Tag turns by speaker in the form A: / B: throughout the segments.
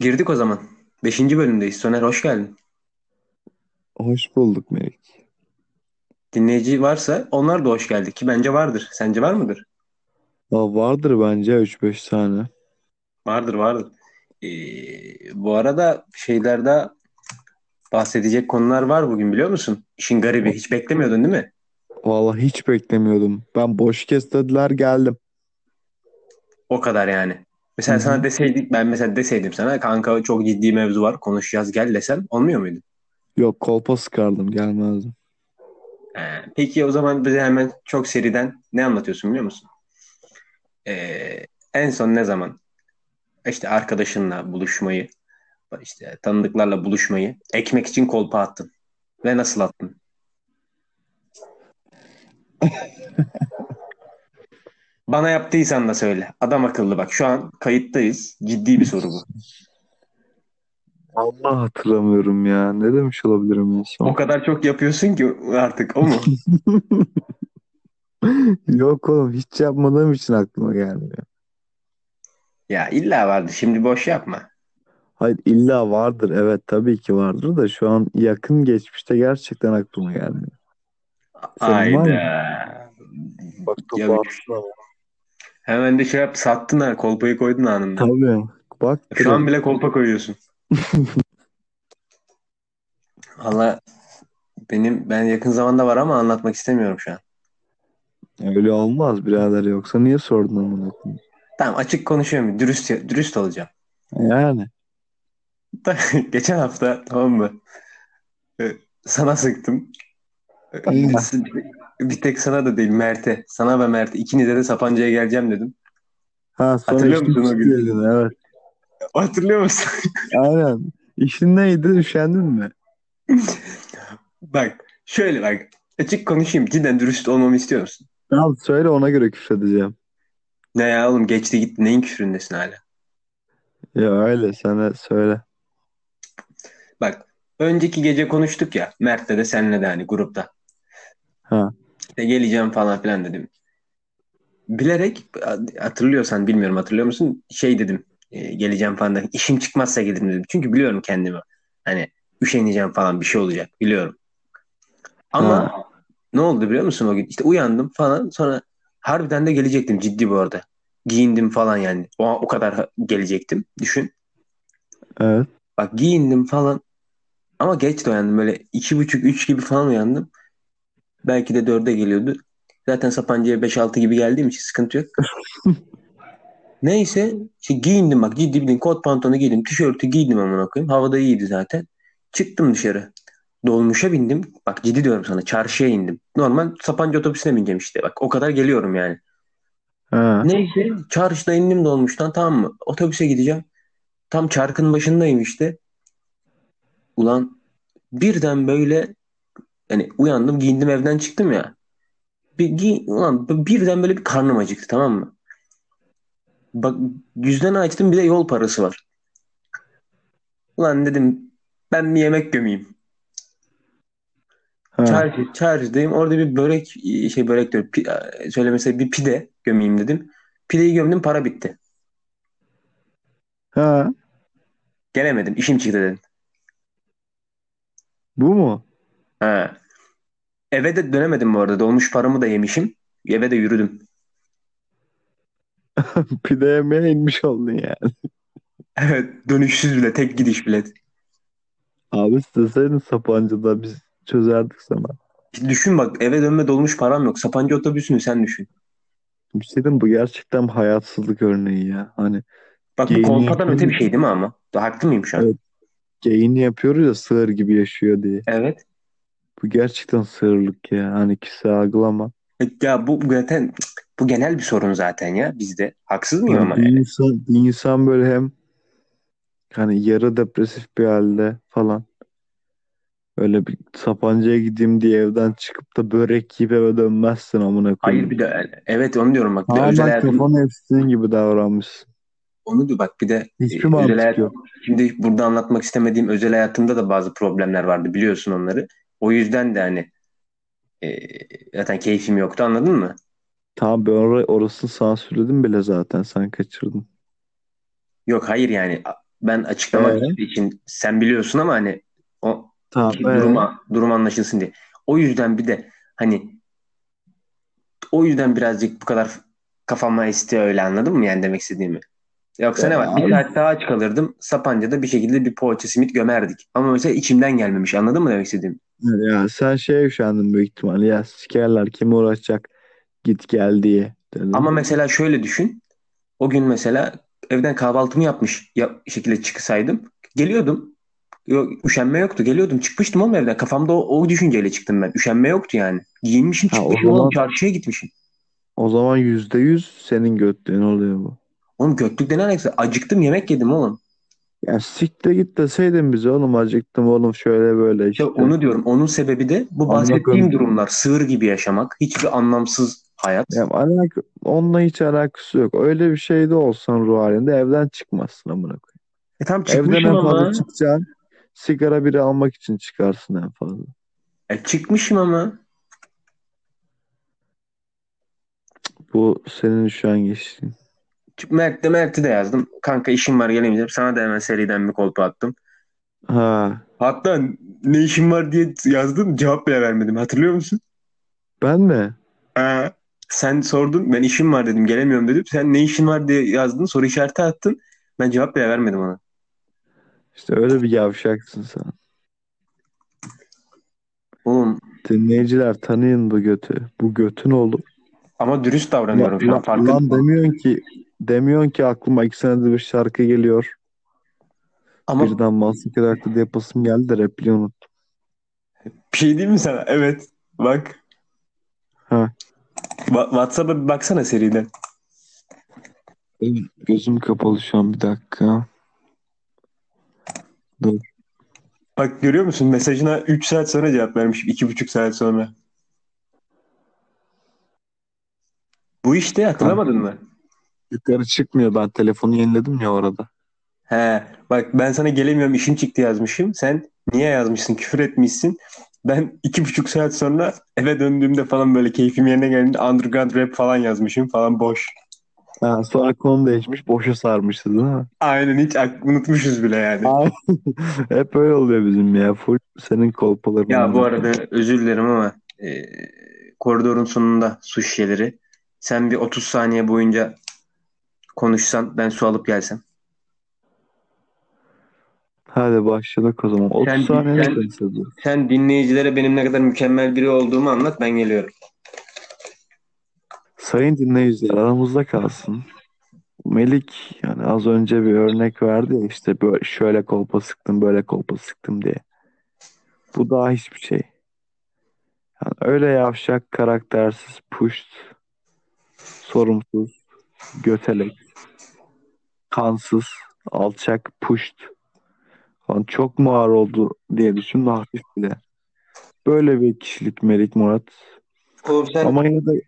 A: Girdik o zaman. Beşinci bölümdeyiz. Soner hoş geldin.
B: Hoş bulduk Melik.
A: Dinleyici varsa onlar da hoş geldi ki bence vardır. Sence var mıdır?
B: Ya vardır bence 3-5 tane.
A: Vardır vardır. Ee, bu arada şeylerde bahsedecek konular var bugün biliyor musun? İşin garibi. Hiç beklemiyordun değil mi?
B: Vallahi hiç beklemiyordum. Ben boş kes dediler geldim.
A: O kadar yani. Mesela
B: Hı hı.
A: sana deseydik ben mesela deseydim sana kanka çok ciddi mevzu var konuşacağız gel desem olmuyor muydu?
B: Yok kolpa sıkardım gelmezdim.
A: Ee, peki o zaman bize hemen çok seriden ne anlatıyorsun biliyor musun? Ee, en son ne zaman? İşte arkadaşınla buluşmayı, işte tanıdıklarla buluşmayı, ekmek için kolpa attın. Ve nasıl attın? Bana yaptıysan da söyle. Adam akıllı bak. Şu an kayıttayız. Ciddi bir soru bu.
B: Vallahi hatırlamıyorum ya. Ne demiş olabilirim en
A: O
B: son?
A: kadar çok yapıyorsun ki artık o mu?
B: Yok oğlum hiç yapmadığım için aklıma gelmiyor.
A: Ya illa vardı. Şimdi boş yapma.
B: Hayır illa vardır evet tabii ki vardır da şu an yakın geçmişte gerçekten aklıma gelmiyor. Senin var mı?
A: Hayda.
B: Bak
A: Ya,
B: topu attın ama.
A: hemen de şey yap sattın ha. Kolpayı koydun anında.
B: Tabii. Bak
A: Şu an
B: direkt.
A: bile kolpa koyuyorsun. Valla benim ben yakın zamanda var ama anlatmak istemiyorum şu an.
B: Öyle olmaz birader yoksa niye sordun amına koyayım?
A: Tamam açık konuşuyorum. Dürüst dürüst olacağım.
B: Yani.
A: Geçen hafta tamam mı? Ee, Sana sıktım. Ee, Bir tek sana da değil Mert'e. Sana ve Mert'e ikinize de Sapanca'ya geleceğim dedim.
B: Ha sonra
A: Hatırlıyor
B: işin
A: musun o
B: çıktı
A: günü?
B: dedin evet.
A: Hatırlıyor musun?
B: Aynen. İşin neydi? Üşendin mi?
A: Bak şöyle bak. Açık konuşayım. Cidden dürüst olmamı istiyor musun?
B: Tamam söyle ona göre küfredeceğim.
A: Ne ya oğlum geçti gitti. Neyin küfründesin hala?
B: Ya öyle sana söyle.
A: Bak önceki gece konuştuk ya. Mert'le de senle de hani grupta.
B: Ha.
A: İşte geleceğim falan filan dedim. Bilerek hatırlıyorsan bilmiyorum hatırlıyor musun? Şey dedim e, geleceğim falan da işim çıkmazsa gelirim dedim. Çünkü biliyorum kendimi. Hani üşeneceğim falan bir şey olacak biliyorum.
B: Ha.
A: Ama ne oldu biliyor musun o gün? İşte uyandım falan sonra harbiden de gelecektim ciddi bu arada. Giyindim falan yani. O, o kadar ha- gelecektim düşün.
B: Evet.
A: Bak giyindim falan ama geç de uyandım böyle iki buçuk üç gibi falan uyandım. Belki de dörde geliyordu. Zaten Sapanca'ya 5-6 gibi geldiğim için sıkıntı yok. Neyse işte giyindim bak ciddi bildiğin kot pantolonu giydim. Tişörtü giydim amına koyayım. Havada iyiydi zaten. Çıktım dışarı. Dolmuşa bindim. Bak ciddi diyorum sana çarşıya indim. Normal Sapanca otobüsüne bineceğim işte. Bak o kadar geliyorum yani.
B: Ha.
A: Neyse çarşıda indim dolmuştan tamam mı? Otobüse gideceğim. Tam çarkın başındayım işte. Ulan birden böyle yani uyandım giyindim evden çıktım ya. Bir, gi- ulan birden böyle bir karnım acıktı tamam mı? Bak cüzdanı açtım bir de yol parası var. Ulan dedim ben bir yemek gömeyim.
B: Ha.
A: Çarşı, çarşıdayım orada bir börek şey börek diyorum pi, söylemese bir pide gömeyim dedim. Pideyi gömdüm para bitti.
B: Ha.
A: Gelemedim işim çıktı dedim.
B: Bu mu?
A: Ha. Eve de dönemedim bu arada dolmuş paramı da yemişim. Eve de yürüdüm.
B: Pide yemeye inmiş oldun yani.
A: Evet dönüşsüz bile tek gidiş bilet.
B: Abi isteseydin Sapanca'da biz çözerdik sana.
A: Düşün bak eve dönme dolmuş param yok. Sapanca otobüsünü sen düşün.
B: Bir şey diyeyim, bu gerçekten hayatsızlık örneği ya. Hani
A: Bak bu
B: geyini
A: kolpadan öte bir
B: yapıyoruz.
A: şey değil mi ama? Da haklı mıyım şu an?
B: Evet, geyini yapıyoruz ya sığır gibi yaşıyor diye.
A: Evet.
B: Bu gerçekten sığırlık ya. Hani kişisel algılama.
A: Ya bu zaten bu genel bir sorun zaten ya bizde. Haksız mıyım
B: Yani
A: ama
B: bir
A: yani?
B: insan, bir insan böyle hem Hani yarı depresif bir halde falan. Öyle bir Sapanca'ya gideyim diye evden çıkıp da börek yiyip eve dönmezsin amına
A: Hayır
B: koyayım.
A: bir de evet onu diyorum bak bir de özel
B: Tamamen
A: hayatım
B: kafana estiğin gibi davranmışsın.
A: onu diyor bak bir de
B: Hiçbir
A: e, özel
B: mantık
A: hayat
B: yok.
A: şimdi burada anlatmak istemediğim özel hayatımda da bazı problemler vardı biliyorsun onları. O yüzden de hani e, zaten keyfim yoktu anladın mı?
B: Tamam ben or orasını sansürledim bile zaten sen kaçırdın.
A: Yok hayır yani Ben açıklamak
B: Ee?
A: için sen biliyorsun ama hani o
B: Tamam.
A: ki
B: ee,
A: duruma durum anlaşılsın diye. O yüzden bir de hani o yüzden birazcık bu kadar kafama esti öyle anladın mı yani demek istediğimi? Yoksa ne
B: Ya
A: var? Bir
B: abi-
A: saat daha aç kalırdım. Sapanca'da bir şekilde bir poğaça simit gömerdik. Ama mesela içimden gelmemiş. Anladın mı demek istediğimi?
B: e, Ya sen şeye üşendin büyük ihtimalle. Ya sikerler kim uğraşacak git gel diye dedim.
A: Ama mesela şöyle düşün. O gün mesela evden kahvaltımı yapmış ya, şekilde çıksaydım. Geliyordum. Yok, üşenme yoktu. Geliyordum. Çıkmıştım oğlum evden. Kafamda o, o düşünceyle çıktım ben. Üşenme yoktu yani. Giyinmişim
B: Ha, o
A: çıkmışım oğlum.
B: zaman-
A: Çarşıya gitmişim.
B: O zaman yüzde yüz senin götlüğün oluyor bu.
A: Oğlum götlükte ne alakası? Acıktım yemek yedim oğlum.
B: Ya sikte git deseydin bize oğlum acıktım oğlum şöyle böyle
A: İşte
B: işte.
A: onu diyorum. Onun sebebi de bu bahsettiğim
B: Anladım.
A: durumlar. Sığır gibi yaşamak. Hiçbir anlamsız hayat.
B: Ya alak onunla hiç alakası yok. Öyle bir şey de olsan ruh halinde evden çıkmazsın amına koyayım.
A: E tam
B: Evden
A: çıkmışım
B: en fazla
A: ama.
B: çıkacaksın. Sigara biri almak için çıkarsın en fazla.
A: E çıkmışım ama.
B: Bu senin şu an geçtiğin.
A: Çık- Mert de Mert'i de yazdım. Kanka işim var gelemeyeceğim. Sana da hemen seriden bir kolpa attım.
B: Ha.
A: Hatta ne işim var diye yazdım. Cevap bile vermedim. Hatırlıyor musun?
B: Ben mi?
A: Ha. Sen sordun. Ben işim var dedim. Gelemiyorum dedim. Sen ne işin var diye yazdın. Soru işareti attın. Ben cevap bile vermedim ona.
B: İşte öyle bir yavşaksın sen.
A: Oğlum
B: Dinleyiciler tanıyın bu götü. Bu götün oğlum.
A: ama dürüst davranıyorum şu an.
B: Lan,
A: Farkındayım.
B: lan demiyorsun ki demiyorsun ki aklıma iki senedir bir şarkı geliyor.
A: Ama
B: Birden Mansur Aklı yapasım geldi de repliği unuttum.
A: Bir şey diyeyim mi sana? Evet. Bak.
B: Ha.
A: Wa- WhatsApp'a bir baksana seriden.
B: Benim gözüm kapalı şu an bir dakika.
A: Bak görüyor musun? Mesajına 3 saat sonra cevap vermişim. 2,5 saat sonra. Bu işte hatırlamadın mı?
B: Yukarı çıkmıyor ben telefonu yeniledim ya orada.
A: He. Bak ben sana gelemiyorum işim çıktı yazmışım. Sen niye yazmışsın? Küfür etmişsin. Ben 2,5 saat sonra eve döndüğümde falan böyle keyfim yerine geldiğinde underground rap falan yazmışım falan boş.
B: Ha, sonra konu değişmiş boşa sarmışız değil mi?
A: Aynen hiç ak- unutmuşuz bile yani.
B: Ay, Hep öyle oluyor bizim ya. Full senin kolpaların.
A: Ya bu arada özür dilerim ama e, koridorun sonunda su şişeleri. Sen bir 30 saniye boyunca konuşsan ben su alıp gelsem.
B: Hadi başladık o zaman. 30
A: Sen-
B: saniye
A: sen-
B: neyse dur.
A: Sen dinleyicilere benim ne kadar mükemmel biri olduğumu anlat ben geliyorum.
B: Sayın dinleyiciler aramızda kalsın. Melik yani az önce bir örnek verdi ya işte böyle şöyle kolpa sıktım böyle kolpa sıktım diye. Bu daha hiçbir şey. Yani öyle yavşak, karaktersiz, puşt, sorumsuz, götelek, kansız, alçak, puşt. Falan çok mu ağır oldu diye düşündüm hafif bile. Böyle bir kişilik Melik Murat.
A: Oğlum sen
B: Ama yine de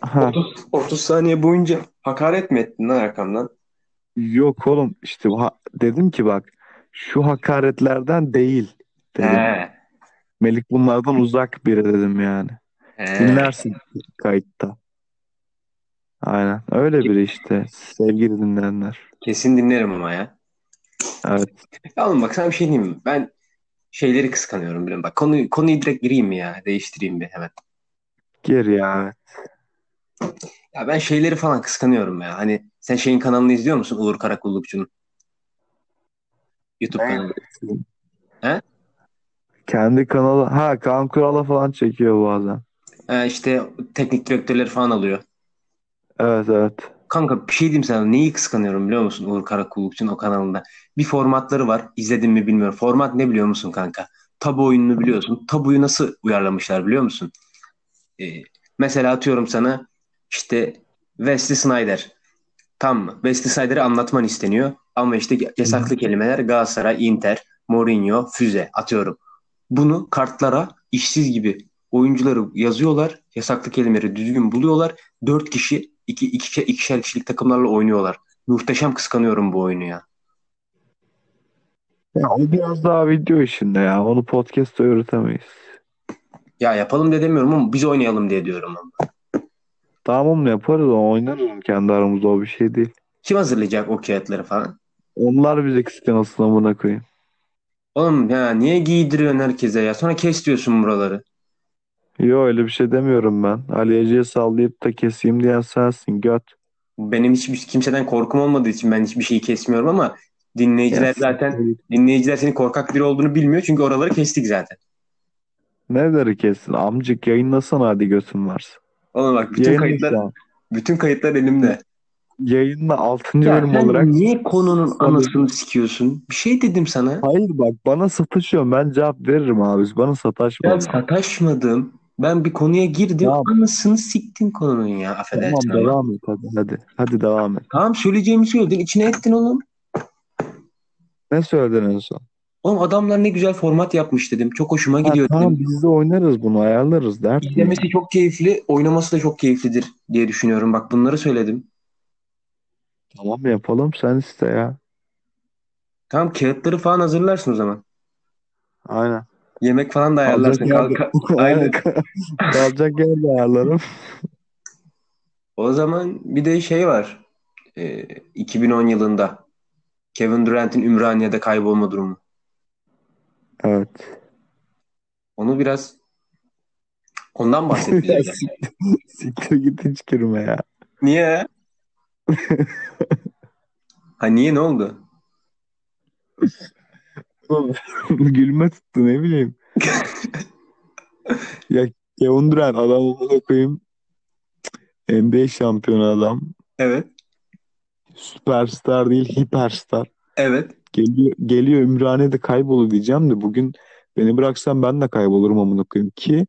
B: ha.
A: 30, 30 saniye boyunca hakaret mi ettin lan arkamdan?
B: Yok oğlum işte bu ha- dedim ki bak şu hakaretlerden değil dedim.
A: He.
B: Melik bunlardan uzak biri dedim yani.
A: he.
B: Dinlersin kayıtta. Aynen öyle biri işte sevgili dinleyenler.
A: Kesin dinlerim ama ya.
B: Evet
A: Ya oğlum bak sana bir şey diyeyim mi? Ben şeyleri kıskanıyorum biliyorum. Bak konuyu, konuyu direkt gireyim mi ya? Değiştireyim bir hemen.
B: gir ya.
A: Ya ben şeyleri falan kıskanıyorum ya. Hani sen şeyin kanalını izliyor musun? Uğur Karakullukçu'nun. YouTube kanalı. He?
B: Kendi kanalı ha Kaan Kural'a falan çekiyor bazen.
A: Ee, işte teknik direktörleri falan alıyor.
B: Evet evet.
A: Kanka bir şey diyeyim sana. Neyi kıskanıyorum biliyor musun Uğur Karakullukçu'nun o kanalında? Bir formatları var. İzledin mi bilmiyorum. Format ne biliyor musun kanka? Tabu oyununu biliyorsun. Tabuyu nasıl uyarlamışlar biliyor musun? Ee, mesela atıyorum sana işte Wesley Snyder. Tamam mı? Wesley Snyder'ı anlatman isteniyor. Ama işte yasaklı kelimeler Galatasaray, Inter, Mourinho, füze atıyorum. Bunu kartlara işsiz gibi oyuncuları yazıyorlar. Yasaklı kelimeleri düzgün buluyorlar. Dört kişi iki, iki, ikişer kişilik takımlarla oynuyorlar. Muhteşem kıskanıyorum bu oyunu ya.
B: Ya o biraz daha video işinde ya. Onu podcast'ta öğretemeyiz.
A: Ya yapalım de demiyorum ama biz oynayalım diye diyorum. ama.
B: Tamam oğlum yaparız ama oynarız kendi aramızda o bir şey değil.
A: Kim hazırlayacak o kağıtları falan?
B: Onlar bize kıskanılsın amına koyayım.
A: Oğlum ya niye giydiriyorsun herkese ya? Sonra kes diyorsun buraları.
B: Yo öyle bir şey demiyorum ben. Ali Ece'ye sallayıp da keseyim diyen sensin göt.
A: Benim hiçbir kimseden korkum olmadığı için ben hiçbir şeyi kesmiyorum ama dinleyiciler
B: Ya
A: zaten
B: siktir git.
A: dinleyiciler senin korkak biri olduğunu bilmiyor çünkü oraları kestik zaten.
B: Neleri kessin? Amcık yayınlasana hadi götün varsa.
A: Oğlum bak bütün
B: Yayınla
A: kayıtlar
B: şu an.
A: bütün kayıtlar elimde.
B: Yayınla 6.
A: Ya
B: bölüm
A: sen
B: olarak.
A: niye konunun
B: Sana-
A: anasını sikiyorsun? Bir şey dedim sana.
B: Hayır bak bana sataşıyorsun. Ben cevap veririm abi. Bana sataşma.
A: Ben sataşmadım. Ben bir konuya girdim.
B: Tamam.
A: Anasını siktin konunun ya.
B: Tamam
A: Affedersin. Tamam,
B: devam et hadi. Hadi, hadi devam et.
A: tamam söyleyeceğimi söyledin. içine ettin oğlum.
B: Ne söyledin en son?
A: Oğlum adamlar ne güzel format yapmış dedim. Çok hoşuma
B: Ha,
A: gidiyor
B: tamam
A: dedim.
B: biz de oynarız bunu ayarlarız dert mi?
A: İzlemesi çok keyifli, oynaması da çok keyiflidir diye düşünüyorum. Bak bunları söyledim.
B: Tamam yapalım sen iste ya.
A: Tamam kağıtları falan hazırlarsın o zaman.
B: Aynen.
A: Yemek falan da
B: Kalacak
A: ayarlarsın.
B: yer de-
A: Kalka... Aynen.
B: Kalacak yer de ayarlarım.
A: O zaman bir de şey var. Ee, 2010 yılında Kevin Durant'in Ümraniye'de kaybolma durumu.
B: Evet.
A: Onu biraz ondan bahsedeceğiz.
B: Siktir git hiç girme ya.
A: Niye? ha niye ne oldu?
B: Gülme tuttu ne bileyim. ya Kevin Durant adam olmasa koyayım. NBA şampiyonu adam.
A: Evet.
B: Süperstar değil hiperstar.
A: Evet.
B: Geliyor, geliyor Ümraniye'de kaybolu diyeceğim de bugün beni bıraksan ben de kaybolurum amına koyayım ki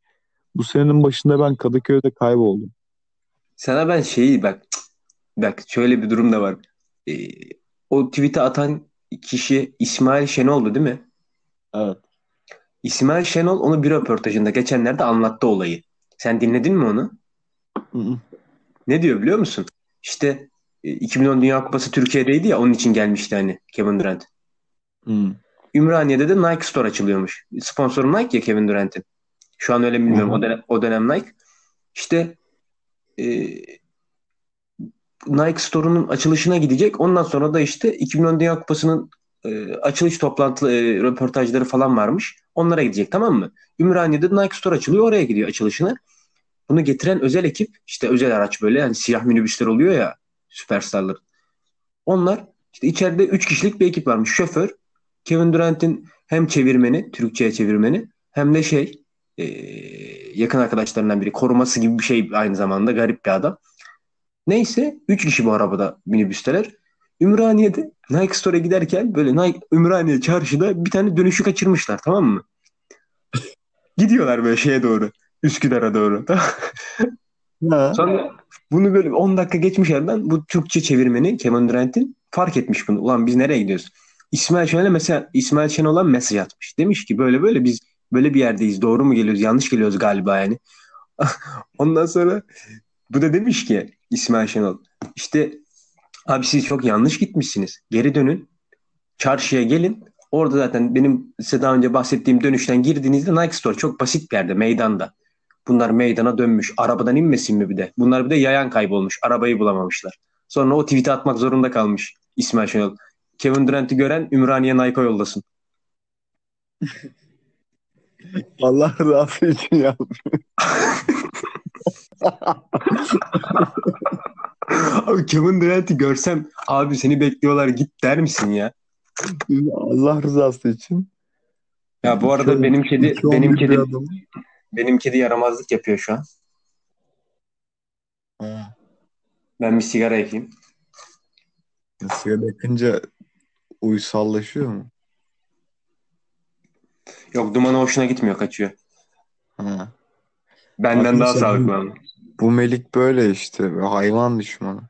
B: bu senenin başında ben Kadıköy'de kayboldum.
A: Sana ben şeyi bak cık, bak şöyle bir durum da var. Ee, o tweet'i atan kişi İsmail Şenol'du değil mi?
B: Evet.
A: İsmail Şenol onu bir röportajında geçenlerde anlattı olayı. Sen dinledin mi onu? Ne diyor biliyor musun? İşte e, 2010 Dünya Kupası Türkiye'deydi ya onun için gelmişti hani Kevin Durant. Ümraniye'de de Nike Store açılıyormuş. Sponsoru Nike ya Kevin Durant'in. Şu an öyle mi bilmiyorum.
B: Hı hı.
A: O dönem, o dönem Nike. İşte e, Nike Store'unun açılışına gidecek. Ondan sonra da işte 2010 Dünya Kupası'nın e, açılış toplantı e, röportajları falan varmış. Onlara gidecek tamam mı? Ümraniye'de Nike Store açılıyor. Oraya gidiyor açılışına. Bunu getiren özel ekip işte özel araç böyle yani siyah minibüsler oluyor ya süperstarların. Onlar işte içeride 3 kişilik bir ekip varmış. Şoför, Kevin Durant'in hem çevirmeni, Türkçe'ye çevirmeni hem de şey e, yakın arkadaşlarından biri koruması gibi bir şey aynı zamanda garip bir adam. Neyse 3 kişi bu arabada minibüsteler. Ümraniye'de Nike Store'a giderken böyle Nike Ümraniye çarşıda bir tane dönüşü kaçırmışlar tamam mı? Gidiyorlar böyle şeye doğru. Üsküdar'a doğru. Tamam.
B: Ha.
A: Sonra bunu böyle 10 dakika geçmiş yerden bu Türkçe çevirmeni Kevin Durant'in fark etmiş bunu. Ulan biz nereye gidiyoruz? İsmail Şenol'e mesela İsmail Şenol'a mesaj atmış. Demiş ki böyle böyle biz böyle bir yerdeyiz. Doğru mu geliyoruz? Yanlış geliyoruz galiba yani. Ondan sonra bu da demiş ki İsmail Şenol işte abi siz çok yanlış gitmişsiniz. Geri dönün. Çarşıya gelin. Orada zaten benim size daha önce bahsettiğim dönüşten girdiğinizde Nike Store çok basit bir yerde meydanda. Bunlar meydana dönmüş. Arabadan inmesin mi bir de? Bunlar bir de yayan kaybolmuş. Arabayı bulamamışlar. Sonra o tweet'i atmak zorunda kalmış İsmail Şenol. Kevin Durant'i gören Ümraniye Nike'a yollasın.
B: Allah razı için ya.
A: abi Kevin Durant'i görsem abi seni bekliyorlar git der misin ya?
B: Allah rızası için.
A: Ya bu arada
B: Şöyle,
A: benim kedi
B: iki on
A: benim
B: bir bir
A: kedi
B: adam.
A: benim kedi yaramazlık yapıyor şu an.
B: Ha.
A: Ben bir sigara yakayım.
B: Sigara yakınca uysallaşıyor mu?
A: Yok dumanı hoşuna gitmiyor kaçıyor.
B: Ha.
A: Benden
B: Abi
A: daha
B: sen-
A: sağlıklı ama.
B: Bu Melik böyle işte. böyle Hayvan düşmanı.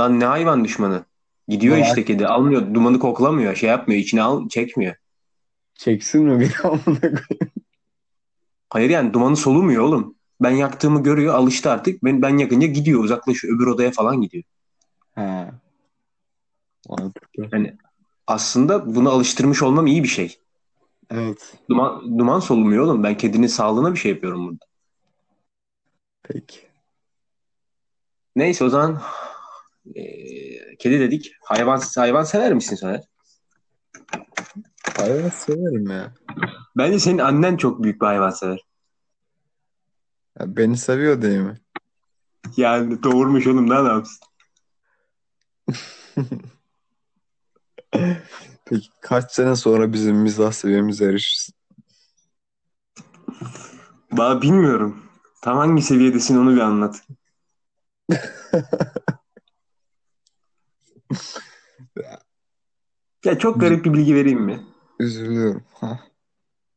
A: Lan ne hayvan düşmanı. Gidiyor
B: Ya-
A: işte kedi. Almıyor. Dumanı koklamıyor. Şey yapmıyor. içine al, çekmiyor.
B: Çeksin mi bir amına koyayım?
A: Hayır yani dumanı solumuyor oğlum. Ben yaktığımı görüyor, alıştı artık. Ben, ben yakınca gidiyor, uzaklaşıyor, öbür odaya falan gidiyor.
B: Ha. Mantıklı.
A: Aslında buna alıştırmış olmam iyi bir şey.
B: Evet.
A: Duman, duman solumuyor oğlum. Ben kedinin sağlığına bir şey yapıyorum burada.
B: Peki.
A: Neyse o zaman e, kedi dedik. Hayvan hayvan sever misin Soner?
B: Hayvan severim ya.
A: Bence senin annen çok büyük bir hayvan sever.
B: Ya beni seviyor değil mi?
A: Yani doğurmuş oğlum ne adamsın.
B: Peki kaç sene sonra bizim mizah seviyemize erişirsin?
A: Ba bilmiyorum. Tam hangi seviyedesin onu bir anlat. Ya çok garip bir bilgi vereyim mi?
B: Üzülüyorum. Ha.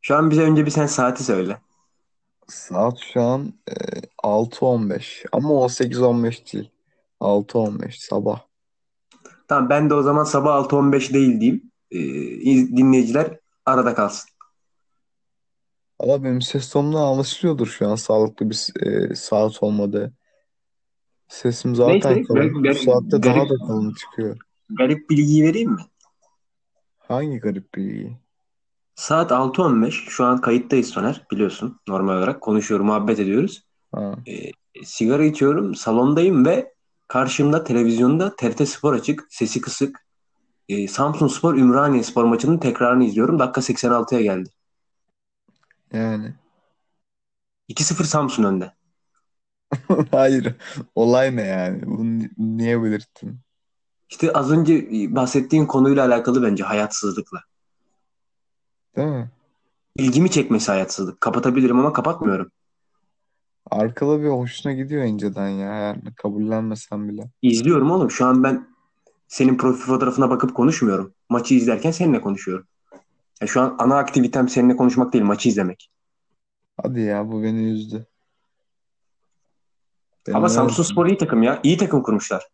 A: Şu an bize önce bir sen saati söyle.
B: Saat şu an e, 6.15 ama 18.15 değil. 6.15 sabah.
A: Tamam ben de o zaman sabah 6.15 değil diyeyim. Ee, iz- dinleyiciler arada kalsın.
B: Ama benim ses tonumdan anlaşılıyordur şu an sağlıklı bir e, saat olmadı. Sesim zaten
A: Neyse,
B: kalın.
A: garip-
B: Bu
A: garip-
B: saatte
A: garip-
B: daha da kalın çıkıyor.
A: Garip bilgiyi vereyim mi?
B: Hangi garip bilgi?
A: Saat 6.15. Şu an kayıttayız Soner biliyorsun. Normal olarak konuşuyorum, muhabbet ediyoruz.
B: Ha.
A: E, sigara içiyorum, salondayım ve karşımda televizyonda TRT Spor açık, sesi kısık. E, Samsun Spor Ümraniye Spor maçının tekrarını izliyorum. Dakika 86'ya geldi.
B: Yani.
A: 2-0 Samsun önde.
B: Hayır. Olay ne yani? Bunu ni- niye belirttin?
A: İşte az önce e, bahsettiğin konuyla alakalı bence hayatsızlıkla.
B: Değil mi?
A: İlgimi çekmesi hayatsızlık. Kapatabilirim ama kapatmıyorum.
B: Arkada bir hoşuna gidiyor inceden ya. Yani kabullenmesen bile.
A: İzliyorum oğlum. Şu an ben senin profil fotoğrafına bakıp konuşmuyorum. Maçı izlerken seninle konuşuyorum. Ya şu an ana aktivitem seninle konuşmak değil, maçı izlemek.
B: Hadi ya bu beni üzdü. Benim
A: Ama
B: ne
A: Samsun
B: yazık-
A: Spor iyi takım ya. İyi takım kurmuşlar.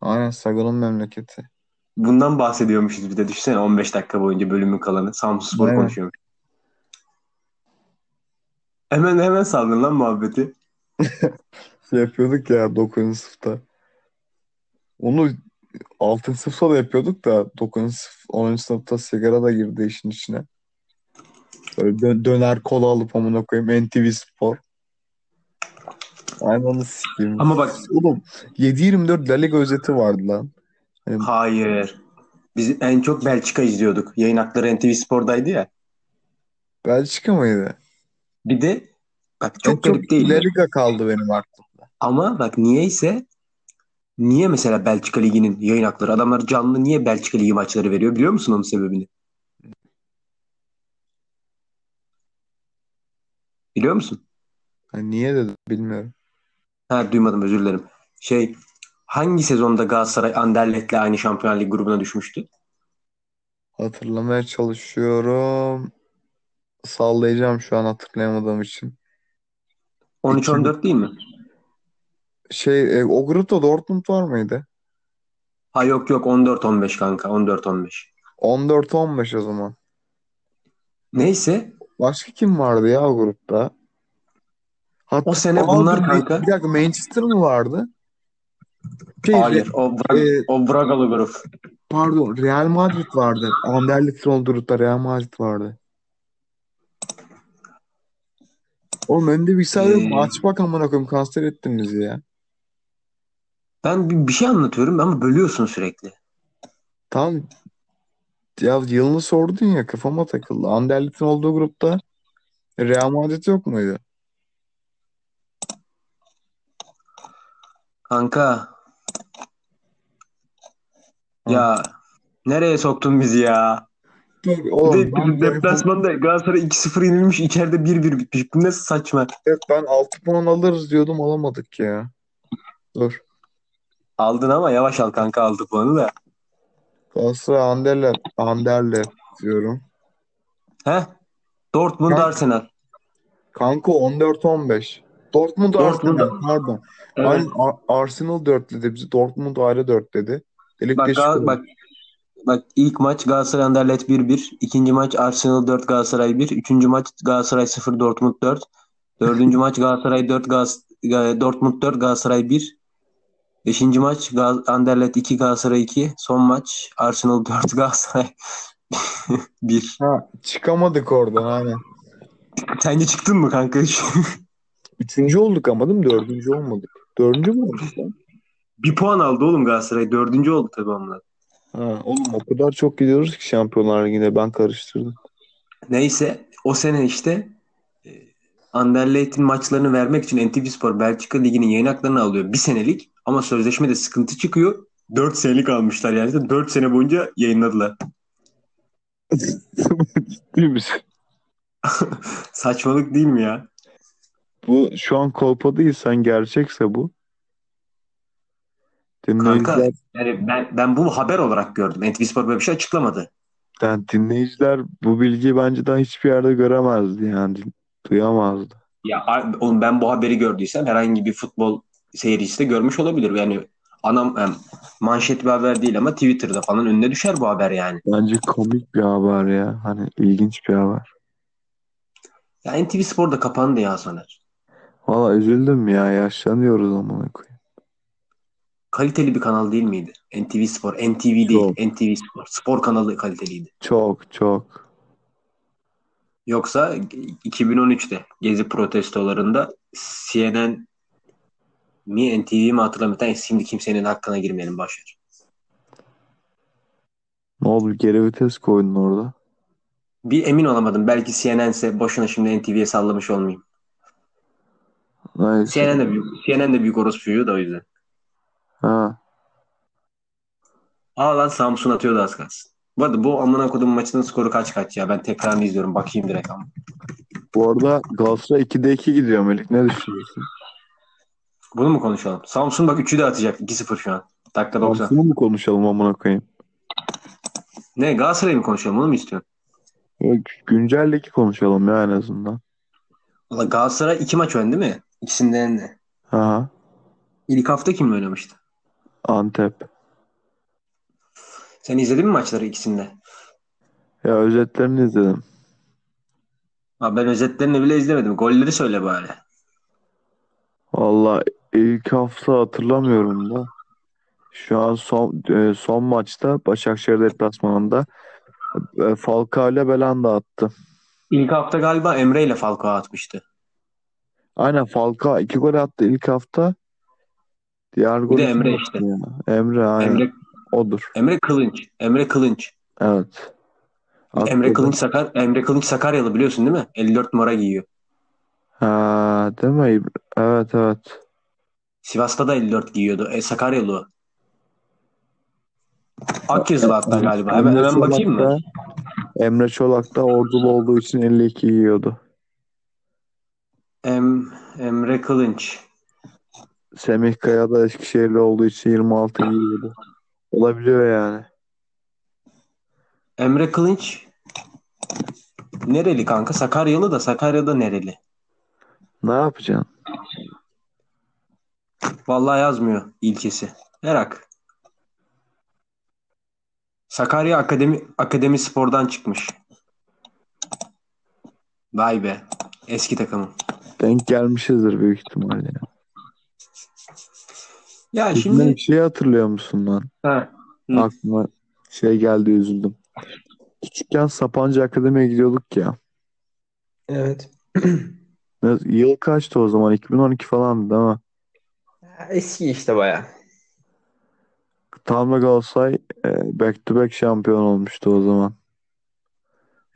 B: Aynen Sagan'ın memleketi.
A: Bundan bahsediyormuşuz bir de. Düşünsene 15 dakika boyunca bölümün kalanı. Samsun Spor'u
B: Aynen.
A: konuşuyormuş. Hemen hemen saldın lan muhabbeti.
B: Şey yapıyorduk ya 9. sınıfta. Onu 6. sınıfta da yapıyorduk da 9. sınıf 10. sınıfta sigara da girdi işin içine. Böyle dö- döner kola alıp amına koyayım NTV Spor. Aynen onu sikeyim.
A: Ama bak
B: Oğlum 7-24 La Liga özeti vardı lan. Hani
A: hayır. Biz en çok Belçika izliyorduk. Yayın hakları NTV Spor'daydı ya.
B: Belçika mıydı?
A: Bir de bak çok
B: En
A: garip değil. mi?
B: La Liga kaldı benim aklım.
A: Ama bak niyeyse niye mesela Belçika Ligi'nin yayın hakları adamlar canlı niye Belçika Ligi maçları veriyor biliyor musun onun sebebini? Biliyor musun?
B: Hani niye dedim bilmiyorum.
A: Ha duymadım özür dilerim. Şey hangi sezonda Galatasaray Anderlecht'le aynı Şampiyonlar Ligi grubuna düşmüştü?
B: Hatırlamaya çalışıyorum. Sallayacağım şu an hatırlayamadığım için.
A: 13-14 değil mi?
B: Şey e, o grupta Dortmund var mıydı?
A: Ha yok yok 14-15 kanka 14-15.
B: 14-15 o zaman.
A: Neyse
B: Başka kim vardı ya o grupta? Hatta,
A: o sene
B: Aa,
A: bunlar
B: dur,
A: kanka.
B: Bir dakika Manchester mı vardı? Şey,
A: Hayır o, Bra-
B: e,
A: o Bragalı grup.
B: pardon Real Madrid vardı. Anderlecht'in olduğu grupta Real Madrid vardı. Oğlum önde bir sayı yok mu?
A: Ee,
B: Aç bak amına koyayım kanser ettiniz ya.
A: Ben bir, bir şey anlatıyorum ama bölüyorsun sürekli.
B: Tamam ya yılını sordun ya kafama takıldı. Anderlecht'in olduğu grupta Real Madrid yok muydu?
A: Kanka
B: Ha.
A: ya nereye soktun bizi ya?
B: Dur,
A: Bir
B: oğlum
A: de
B: ben,
A: deplasmanda Galatasaray 2-0 yenilmiş içeride 1-1 bitmiş. Bu nasıl saçma?
B: ben 6 puan alırız diyordum alamadık ya. Dur.
A: Aldın ama yavaş al kanka aldı puanı da.
B: Galatasaray Anderlecht, Anderlecht diyorum.
A: He? Dortmund
B: Ben-
A: Arsenal.
B: Kanka 14-15. Dortmund
A: Dortmund-
B: Arsenal pardon.
A: Evet.
B: Aynen, Ar- Arsenal dörtledi bizi. Dortmund ayrı dörtledi. Delik
A: Bak,
B: deşik
A: Gal-
B: oldu.
A: bak, bak ilk maç Galatasaray Anderlecht 1-1. İkinci maç Arsenal 4 Galatasaray 1. Üçüncü maç Galatasaray 0 Dortmund 4. Dördüncü maç Galatasaray 4 Gaz Ga- Dortmund 4 Galatasaray 1. Beşinci maç Gal Anderlecht 2 Galatasaray 2. Son maç Arsenal 4 Galatasaray 1.
B: Ha, çıkamadık oradan aynen.
A: Sence çıktın mı kanka?
B: Üçüncü olduk ama değil mi? Dördüncü olmadık. Dördüncü mü olduk lan?
A: Bir puan aldı oğlum Galatasaray. Dördüncü oldu tabii onlar.
B: Ha, oğlum o kadar çok gidiyoruz ki Şampiyonlar Ligi'ne ben karıştırdım.
A: Neyse o sene işte e, Anderlecht'in maçlarını vermek için NTV Spor Belçika Ligi'nin yayın haklarını alıyor. Bir senelik ama sözleşmede sıkıntı çıkıyor. 4 senelik almışlar yani. 4 sene boyunca yayınladılar.
B: Ciddi misin?
A: Saçmalık değil mi ya?
B: Bu şu an kolpadaysan gerçekse bu.
A: Kanka
B: Dinleyiciler,
A: yani ben, ben bunu haber olarak gördüm. NTV Spor böyle bir şey açıklamadı.
B: yani dinleyiciler bu bilgiyi bence daha hiçbir yerde göremezdi yani duyamazdı.
A: Ya a- oğlum ben bu haberi gördüysem herhangi bir futbol seyircisi de görmüş olabilir. Yani anam em, manşet bir haber değil ama Twitter'da falan önüne düşer bu haber yani.
B: Bence komik bir haber ya. Hani ilginç bir haber.
A: Ya NTV Spor da kapandı ya Soner.
B: Valla üzüldüm ya. Yaşlanıyoruz amına koyayım.
A: Kaliteli bir kanal değil miydi? NTV Spor, NTV değil,
B: Çok.
A: NTV Spor. Spor kanalı kaliteliydi.
B: Çok çok.
A: Yoksa 2013'te Gezi protestolarında CNN mi NTV mi hatırlamıyorum. Yani Şimdi kimsenin hakkına girmeyelim başlar.
B: Ne oldu? Geri vites koydun orada.
A: Bir emin olamadım. Belki CNN ise boşuna şimdi NTV'ye sallamış olmayayım.
B: Neyse.
A: CNN de büyük, CNN de büyük orospuyu da o yüzden.
B: Ha.
A: Aa lan Samsun atıyordu az kalsın. Bu arada bu amına kodum maçının skoru kaç kaç ya. Ben tekrarını izliyorum. Bakayım direkt ama.
B: Bu arada Galatasaray 2'de 2 gidiyor Melik. Ne düşünüyorsun?
A: Bunu mu konuşalım? Samsun bak 3'ü de atacak. 2-0 şu an. Dakika 90.
B: Samsun'u mu konuşalım amına koyayım?
A: Ne Galatasaray'ı mı konuşalım? Onu mu istiyorsun?
B: Yok, Güncel ligi konuşalım ya en azından.
A: Valla Galatasaray 2 maç öndü değil mi? İkisinden de.
B: Ha.
A: İlk hafta kim oynamıştı?
B: Antep.
A: Sen izledin mi maçları ikisinde?
B: Ya özetlerini izledim.
A: Abi ben özetlerini bile izlemedim. Golleri söyle bari.
B: Valla ilk hafta hatırlamıyorum da. Şu an son e, son maçta Başakşehir deplasmanında e, Falcao ile Belanda attı.
A: İlk hafta galiba Emre ile Falcao atmıştı.
B: Aynen Falcao iki gol attı ilk hafta. Diğer
A: Bir
B: golü
A: de
B: kim
A: Emre
B: attı
A: işte.
B: ya? Emre aynen.
A: Emre,
B: Odur.
A: Emre Kılınç. Emre Kılınç.
B: Evet.
A: Emre
B: Attı.
A: Kılınç Sakar Emre Kılınç Sakaryalı biliyorsun değil mi? 54 numara giyiyor.
B: Ha, değil mi? İbra- Evet evet.
A: Sivas'ta da 54 giyiyordu. E, Sakaryalı o. Akyazılı hatta galiba. Hemen,
B: Emre
A: hemen
B: Çolak
A: bakayım mı?
B: da Emre Çolak da ordulu olduğu için 52 yiyordu.
A: Em, Emre Kılınç.
B: Semih Kaya da Eskişehirli olduğu için 26 yiyordu. Olabiliyor yani.
A: Emre Kılınç nereli kanka? Sakaryalı da Sakarya'da nereli?
B: Ne yapacaksın?
A: Vallahi yazmıyor ilçesi. Merak. Sakarya Akademi Akademi Spor'dan çıkmış. Vay be. Eski takımım.
B: Denk gelmişizdir büyük ihtimalle.
A: Ya
B: Şimdi
A: şimdi
B: bir şey hatırlıyor musun lan?
A: ha. Hı.
B: Aklıma şey geldi üzüldüm. Küçükken Sapanca Akademi'ye gidiyorduk ya.
A: Evet.
B: Ne- Yıl kaçtı o zaman? 2012 falan değil mi?
A: Eski işte baya.
B: Tam da Galatasaray e, back to back şampiyon olmuştu o zaman.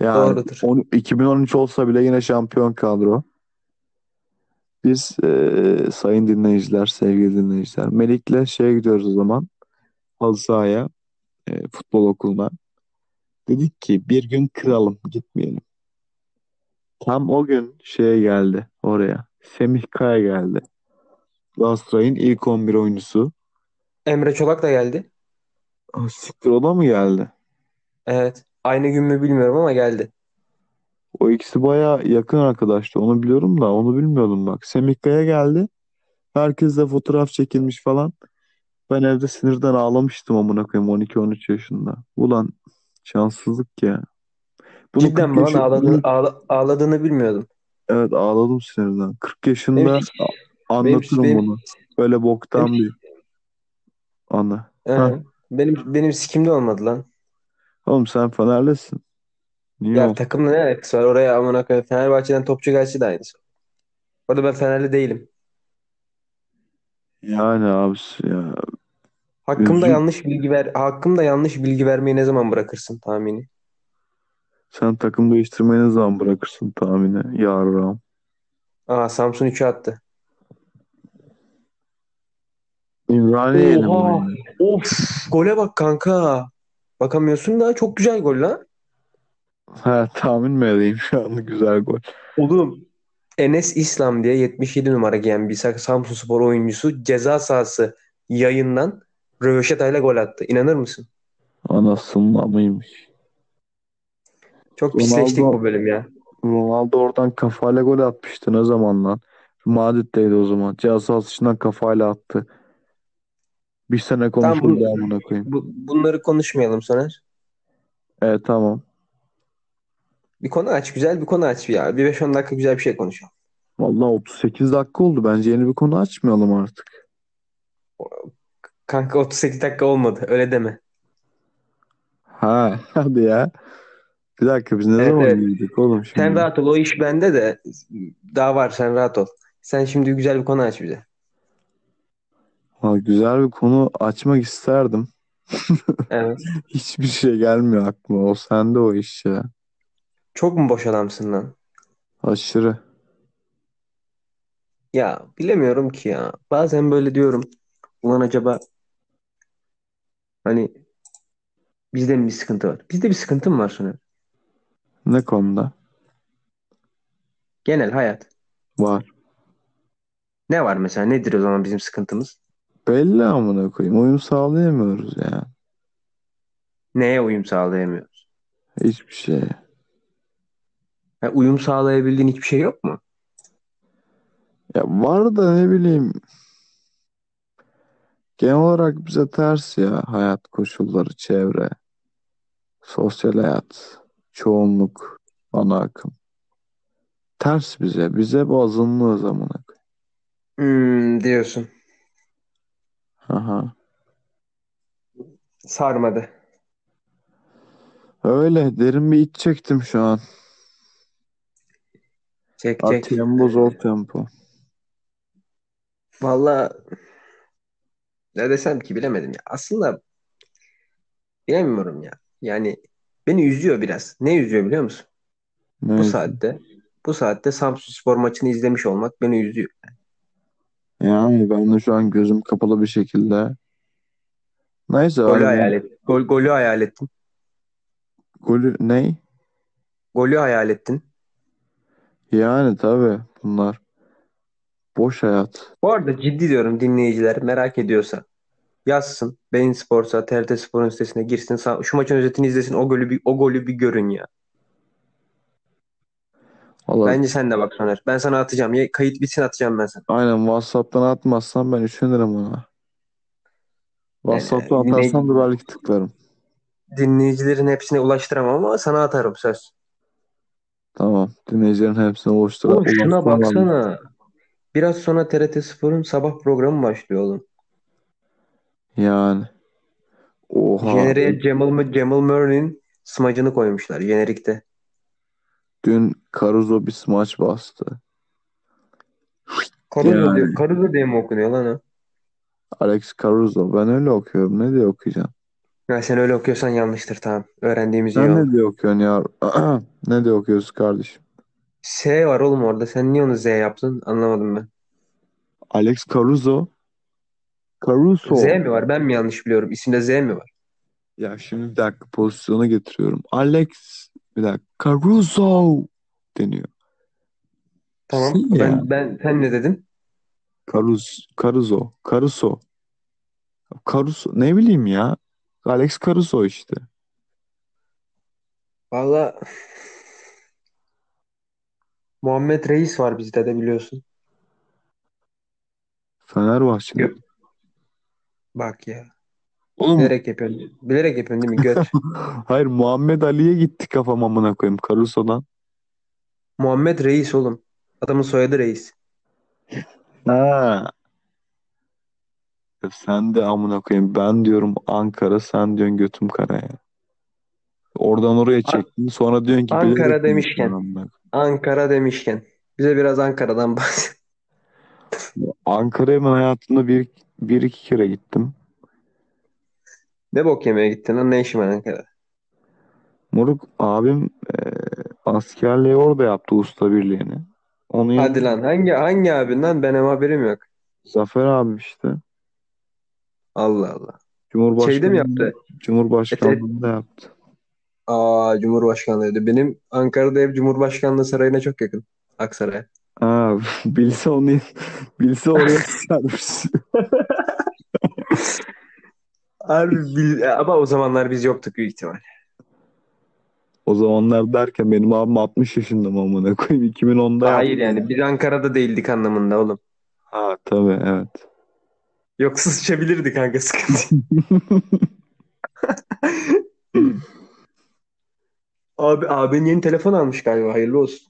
B: Yani
A: Doğrudur.
B: on- 2013 olsa bile yine şampiyon kadro. Biz e, sayın dinleyiciler, sevgili dinleyiciler. Melik'le şeye gidiyoruz o zaman. Halı sahaya, e, futbol okuluna. Dedik ki bir gün kıralım, gitmeyelim. Tam o gün şeye geldi oraya. Semih Kaya geldi. Galatasaray'ın ilk 11 oyuncusu.
A: Emre Çolak da geldi.
B: Ah, Siktir o da mı geldi?
A: Evet. Aynı gün mü bilmiyorum ama geldi.
B: O ikisi baya yakın arkadaştı. Onu biliyorum da onu bilmiyordum bak. Semih Kaya geldi. Herkesle fotoğraf çekilmiş falan. Ben evde sinirden ağlamıştım amına koyayım 12-13 yaşında. Ulan şanssızlık ya. Bunu
A: Cidden
B: 40
A: mi lan
B: yaşında
A: ağladığını, ağla- ağladığını bilmiyordum.
B: evet ağladım sinirden. 40 yaşında
A: Benim-
B: a- anlatırım
A: benim-
B: bunu. Böyle boktan bir anı. Ha.
A: Ee, benim benim sikimde olmadı lan.
B: Oğlum sen Fenerlisin. Niye
A: Ya
B: oğlum?
A: takımla ne alakası var? Oraya amına koyayım. Fenerbahçe'den topçu gelse de aynısı. Orada ben Fenerli değilim.
B: Yani abisi ya
A: Hakkımda
B: Üzgün.
A: yanlış bilgi ver, hakkımda yanlış bilgi vermeyi ne zaman bırakırsın tahmini?
B: Sen takım değiştirmeyi ne zaman bırakırsın tahmini? Yarram.
A: Aa Samsun 3'e attı.
B: İmraniye'yle
A: Oha!
B: mi?
A: Of gole bak kanka. Bakamıyorsun da çok güzel gol lan.
B: Ha, tahmin mi edeyim şu anda güzel gol.
A: Oğlum. Enes İslam diye 77 numara giyen bir Samsun Spor oyuncusu ceza sahası yayından röveşatayla gol attı. İnanır mısın?
B: Anasının amıymış.
A: Çok pisleştik
B: Ronaldo-
A: bu bölüm ya.
B: Ronaldo oradan kafayla gol atmıştı ne zaman lan? Madrid'deydi o zaman. Ceza sahası içinden kafayla attı. Bir sene konuşuldu
A: bunu-
B: amına koyayım.
A: Bu, bunları konuşmayalım Soner.
B: Evet tamam.
A: Bir konu aç. Güzel bir konu aç ya. Bir 5-10 dakika güzel bir şey konuşalım.
B: Vallahi 38 dakika oldu. Bence yeni bir konu açmayalım artık.
A: Kanka 38 dakika olmadı. Öyle deme.
B: Ha, hadi ya. Bir dakika biz ne
A: Evet,
B: zaman
A: evet.
B: girdik oğlum
A: Sen
B: şimdi?
A: rahat ol. O iş bende de. Daha var. Sen rahat ol. Sen şimdi güzel bir konu aç bize.
B: Vallahi güzel bir konu açmak isterdim.
A: Evet.
B: Hiçbir şey gelmiyor aklıma. O sende o iş ya.
A: Çok mu boş adamsın lan?
B: Aşırı.
A: Ya bilemiyorum ki ya. Bazen böyle diyorum. Ulan acaba hani bizde mi bir sıkıntı var? Bizde bir sıkıntı mı var Soner?
B: Ne konuda?
A: Genel hayat.
B: Var.
A: Ne var mesela? Nedir o zaman bizim sıkıntımız?
B: Belli amına koyayım. Uyum sağlayamıyoruz ya.
A: Neye uyum sağlayamıyoruz?
B: Hiçbir şey.
A: Ha, uyum sağlayabildiğin hiçbir şey yok mu?
B: Ya var da ne bileyim. Genel olarak bize ters ya hayat koşulları, çevre, sosyal hayat, çoğunluk, ana akım. Ters bize. Bize bu azınlığız amına koyayım.
A: Hmm, diyorsun.
B: Aha.
A: Sarmadı.
B: Öyle derin bir iç çektim şu an.
A: Çek
B: A
A: çek.
B: tempo zor tempo.
A: Valla ne desem ki bilemedim ya. Aslında bilemiyorum ya. Yani beni üzüyor biraz. Ne üzüyor biliyor musun? Bu
B: Neyse.
A: saatte bu saatte Samsunspor maçını izlemiş olmak beni üzüyor.
B: Yani ben de şu an gözüm kapalı bir şekilde. Neyse
A: Golü
B: öyle
A: hayal ettin. Gol, golü hayal ettin.
B: golü ney?
A: Golü hayal ettin.
B: Yani tabii bunlar boş hayat.
A: Bu arada ciddi diyorum dinleyiciler merak ediyorsa yazsın. Beyin Spor'sa TRT Spor'un sitesine girsin. Sa- Şu maçın özetini izlesin. O golü bir, o golü bir görün ya.
B: Vallahi
A: Bence sen de bak Soner. Ben sana atacağım. Ya, kayıt bitsin atacağım ben sana.
B: aynen WhatsApp'tan atmazsan ben üşenirim ona. WhatsApp'tan
A: Ee, yine-
B: atarsam da belki tıklarım.
A: Dinleyicilerin hepsine ulaştıramam ama sana atarım söz.
B: Tamam. Dinleyicilerin hepsine oluştur.
A: Oğlum şuna baksana. Biraz sonra TRT Spor'un sabah programı başlıyor oğlum.
B: Yani. Oha.
A: Jeneriğe Cemal, Cemal Murray'nin smacını koymuşlar jenerikte.
B: Dün Caruso bir smaç bastı.
A: Karuzo,
B: Yani.
A: diye, Karuzo diye mi okunuyor lan o?
B: Alex Caruso. Ben öyle okuyorum. Ne diye okuyacağım?
A: Ya sen öyle okuyorsan yanlıştır tamam. Öğrendiğimiz iyi
B: Sen
A: oldu.
B: ne diye okuyorsun ya? Ne diye okuyorsun kardeşim?
A: S var oğlum orada. Sen niye onu Z yaptın? Anlamadım ben.
B: Alex Caruso. Caruso.
A: Z mi var? Ben mi yanlış biliyorum? İsimde Z mi var?
B: Ya şimdi bir dakika pozisyona getiriyorum. Alex bir dakika Caruso deniyor.
A: Tamam.
B: Sin ya.
A: Ben ben sen ne dedin?
B: Carus, Caruso, Caruso. Caruso ne bileyim ya. Alex Caruso işte.
A: Valla Muhammed Reis var bizde de biliyorsun.
B: Fenerbahçe'de.
A: Yok. Bak ya.
B: Oğlum
A: Bilerek yapıyorsun. Bilerek yapıyorsun değil mi? Göt.
B: hayır Muhammed Ali'ye gitti kafam amına koyayım Caruso'dan.
A: Muhammed Reis oğlum. Adamın soyadı Reis.
B: Ha. Ya sen de amına koyayım. Ben diyorum Ankara, sen diyorsun götüm kara ya. Oradan oraya çektin. Sonra diyorsun ki
A: Ankara
B: bilerek mi
A: demişken.
B: gittin amına koyayım?
A: Ankara demişken. Bize biraz Ankara'dan bahset.
B: Ankara'ya ben hayatımda bir, bir iki kere gittim.
A: Ne bok yemeye gittin lan ne işin var Ankara'da?
B: Moruk abim e, askerliği orada yaptı usta birliğini. Onun
A: Hadi
B: yanında
A: lan hangi hangi abinden benim haberim yok.
B: Zafer abi işte.
A: Allah Allah. Şeyde mi
B: Cumhurbaşkanlığı,
A: yaptı? E,
B: Cumhurbaşkanlığında yaptı.
A: Aa Cumhurbaşkanlığıydı. Benim Ankara'da ev Cumhurbaşkanlığı sarayına çok yakın. Aksaray'a.
B: Aa, bilse onu bilse oraya sarmış.
A: Abi bil- ama o zamanlar biz yoktuk büyük ihtimal.
B: O zamanlar derken benim abim 60 yaşında mı amına koyayım 2010'da yaptı.
A: Hayır yani biz Ankara'da değildik anlamında oğlum.
B: Ha tabii evet.
A: Yoksa sıçabilirdik kanka sıkıntı. yok. Abi abin yeni telefon almış galiba hayırlı olsun.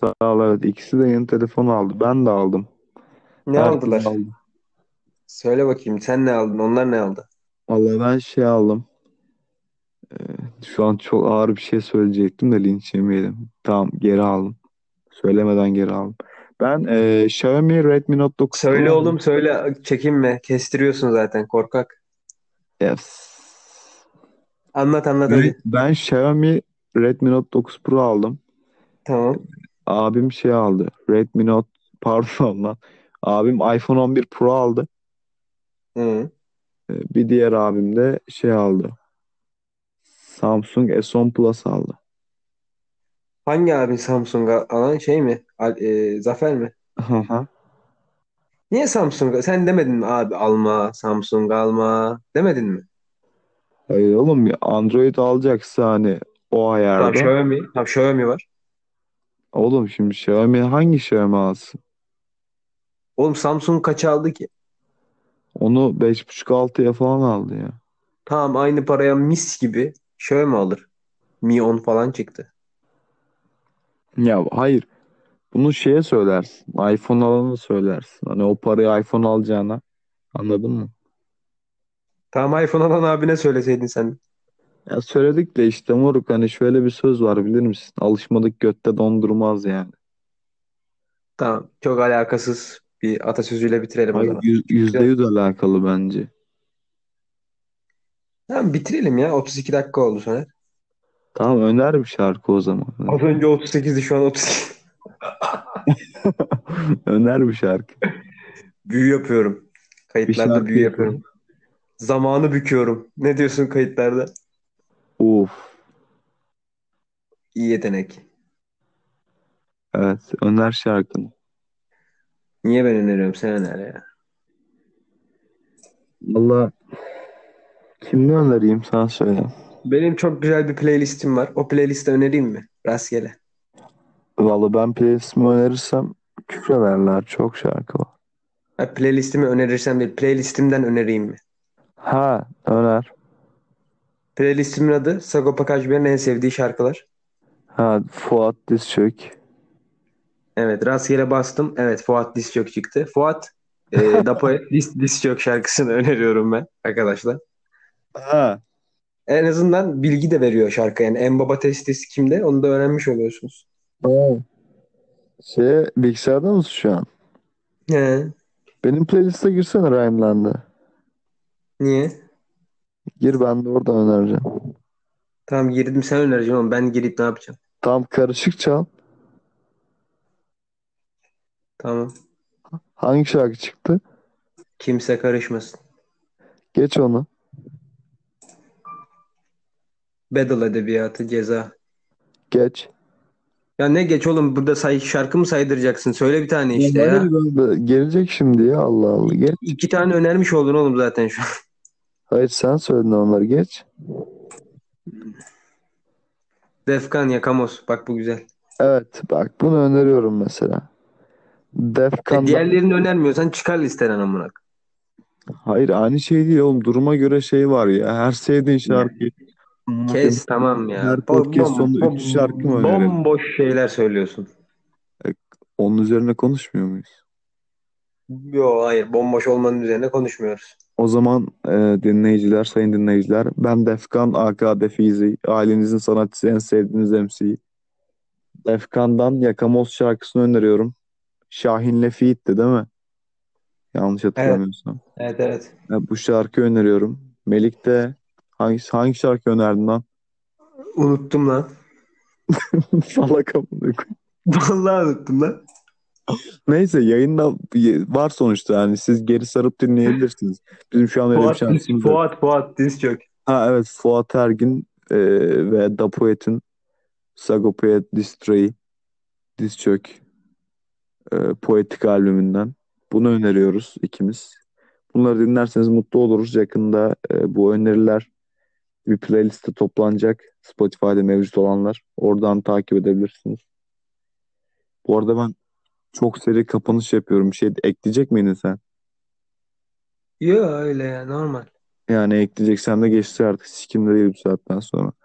B: Sağ ol evet. İkisi de yeni telefon aldı. Ben de aldım.
A: Ne
B: Herkes
A: aldılar?
B: aldı.
A: Söyle bakayım sen ne aldın onlar ne aldı?
B: Vallahi ben şey aldım. Ee, Şu an çok ağır bir şey söyleyecektim de linç yemeyelim. Tamam geri aldım. Söylemeden geri aldım. Ben e, Xiaomi Redmi Note 9
A: Söyle
B: Pro
A: oğlum söyle çekinme kestiriyorsun zaten korkak.
B: Yes.
A: Anlat anlat
B: Ben,
A: hadi.
B: ben Xiaomi Redmi Note 9 Pro aldım.
A: Tamam.
B: Abim şey aldı. Redmi Note pardon lan. Abim iPhone 11 Pro aldı.
A: Hı.
B: E, Bir diğer abim de şey aldı. Samsung S10 Plus aldı.
A: Hangi abin Samsung'a alan şey mi? Al- e, Zafer mi?
B: Hı hı.
A: Niye Samsung'a? Sen demedin mi abi alma Samsung alma demedin mi?
B: Hayır oğlum ya Android alacaksa hani o
A: Tamam
B: ayarda.
A: Xiaomi. Tamam Xiaomi var.
B: Oğlum şimdi Xiaomi hangi Xiaomi alsın?
A: Oğlum Samsung kaça aldı ki?
B: Onu 5.5-6'ya falan aldı ya.
A: Tamam aynı paraya mis gibi Xiaomi alır. Mi 10 falan çıktı.
B: Ya hayır. Bunu şeye söylersin. iPhone alana söylersin. Hani o parayı iPhone alacağına. Anladın mı?
A: Tamam iPhone alan abine söyleseydin sen.
B: Ya söyledik de işte moruk hani şöyle bir söz var bilir misin? Alışmadık götte dondurmaz yani.
A: Tamam çok alakasız bir atasözüyle bitirelim o
B: Hayır
A: zaman.
B: yüz- Hani yüzde yüz alakalı bence.
A: Tamam bitirelim ya 32 dakika oldu sonra.
B: Tamam öner bir şarkı o zaman.
A: Az önce 38'di şu an 32.
B: Öner bir şarkı.
A: Büyü yapıyorum.
B: Bir
A: Kayıtlarda
B: şarkı
A: büyü
B: yapalım.
A: yapıyorum. Zamanı büküyorum. Ne diyorsun kayıtlarda?
B: Of.
A: İyi yetenek.
B: Evet. Öner şarkını.
A: Niye ben öneriyorum? Sen öner ya.
B: Valla kimi önereyim sen söyle.
A: Benim çok güzel bir playlistim var. O playlisti önereyim mi? Rastgele.
B: Valla ben playlistimi önerirsem küfrederler. Çok şarkı var.
A: Ha, playlistimi önerirsem değil. Playlistimden önereyim mi?
B: Ha öner.
A: Playlistimin adı Sagopa Kajmer'in en sevdiği şarkılar.
B: Ha Fuat Dizçök.
A: Evet rastgele bastım. Evet Fuat Discjok çıktı. Fuat e, Dapo Dis, Discjok şarkısını öneriyorum ben arkadaşlar.
B: Ha.
A: En azından bilgi de veriyor şarkı. Yani en baba testisi kimde onu da öğrenmiş oluyorsunuz.
B: Tamam. Şey bilgisayarda mısın şu an?
A: He,
B: Benim playlist'e girsene Rhymeland'a.
A: niye?
B: Gir ben de oradan önereceğim.
A: Tamam girdim sen önereceksin ama ben girip ne yapacağım?
B: Tam karışık çal.
A: Tamam.
B: Hangi şarkı çıktı?
A: Kimse karışmasın.
B: Geç onu.
A: Battle edebiyatı ceza.
B: Geç.
A: Ya ne geç oğlum burada say şarkı mı saydıracaksın? Söyle bir tane işte
B: Ya
A: ya.
B: hayır be- gelecek şimdi ya Allah Allah. Geç.
A: İki tane önermiş oldun oğlum zaten şu an.
B: Hayır sen söyledin onları geç.
A: Defkan Yakamoz. Bak bu güzel.
B: Evet bak bunu öneriyorum mesela.
A: E,
B: Defkan'dan.
A: diğerlerini önermiyorsan çıkar listeden amına.
B: Hayır aynı şey değil oğlum. Duruma göre şey var ya. Her sevdiğin şarkıyı. Amına koyayım.
A: Kes tamam ya.
B: Her
A: Bom,
B: podcast
A: bom,
B: sonunda
A: bom,
B: 3 şarkı mı önerelim?
A: bomboş şeyler söylüyorsun.
B: Onun üzerine konuşmuyor muyuz?
A: Yo hayır bomboş olmanın üzerine konuşmuyoruz.
B: O zaman e, dinleyiciler, sayın dinleyiciler, ben Defkan aka Defizi, ailenizin sanatçısı, en sevdiğiniz MC'yi. Defkan'dan Yakamoz şarkısını öneriyorum. Şahin'le feat'ti değil mi? Yanlış hatırlamıyorsam.
C: Evet evet.
B: Ya bu şarkı öneriyorum. Melik de hangi, hangi şarkı önerdin lan?
A: Unuttum lan.
B: Salak amına koyayım.
A: Vallahi unuttum lan.
B: Neyse yayında var sonuçta yani siz geri sarıp dinleyebilirsiniz. Bizim şu an öyle bir
A: Fuat,
B: şansımız yok.
A: Fuat, Fuat, diz çök.
B: Ha evet Fuat Ergin e, ve Da Poet'in Sagopa Distray Dizçök e, Poetik albümünden. Bunu öneriyoruz ikimiz. Bunları dinlerseniz mutlu oluruz. Yakında e, bu öneriler bir playliste toplanacak. Spotify'da mevcut olanlar. Oradan takip edebilirsiniz. Bu arada ben çok seri kapanış yapıyorum. Bir şey ekleyecek miydin sen?
A: Yo öyle ya normal.
B: Yani ekleyeceksen de geçti artık. Sikimde değil bu saatten sonra.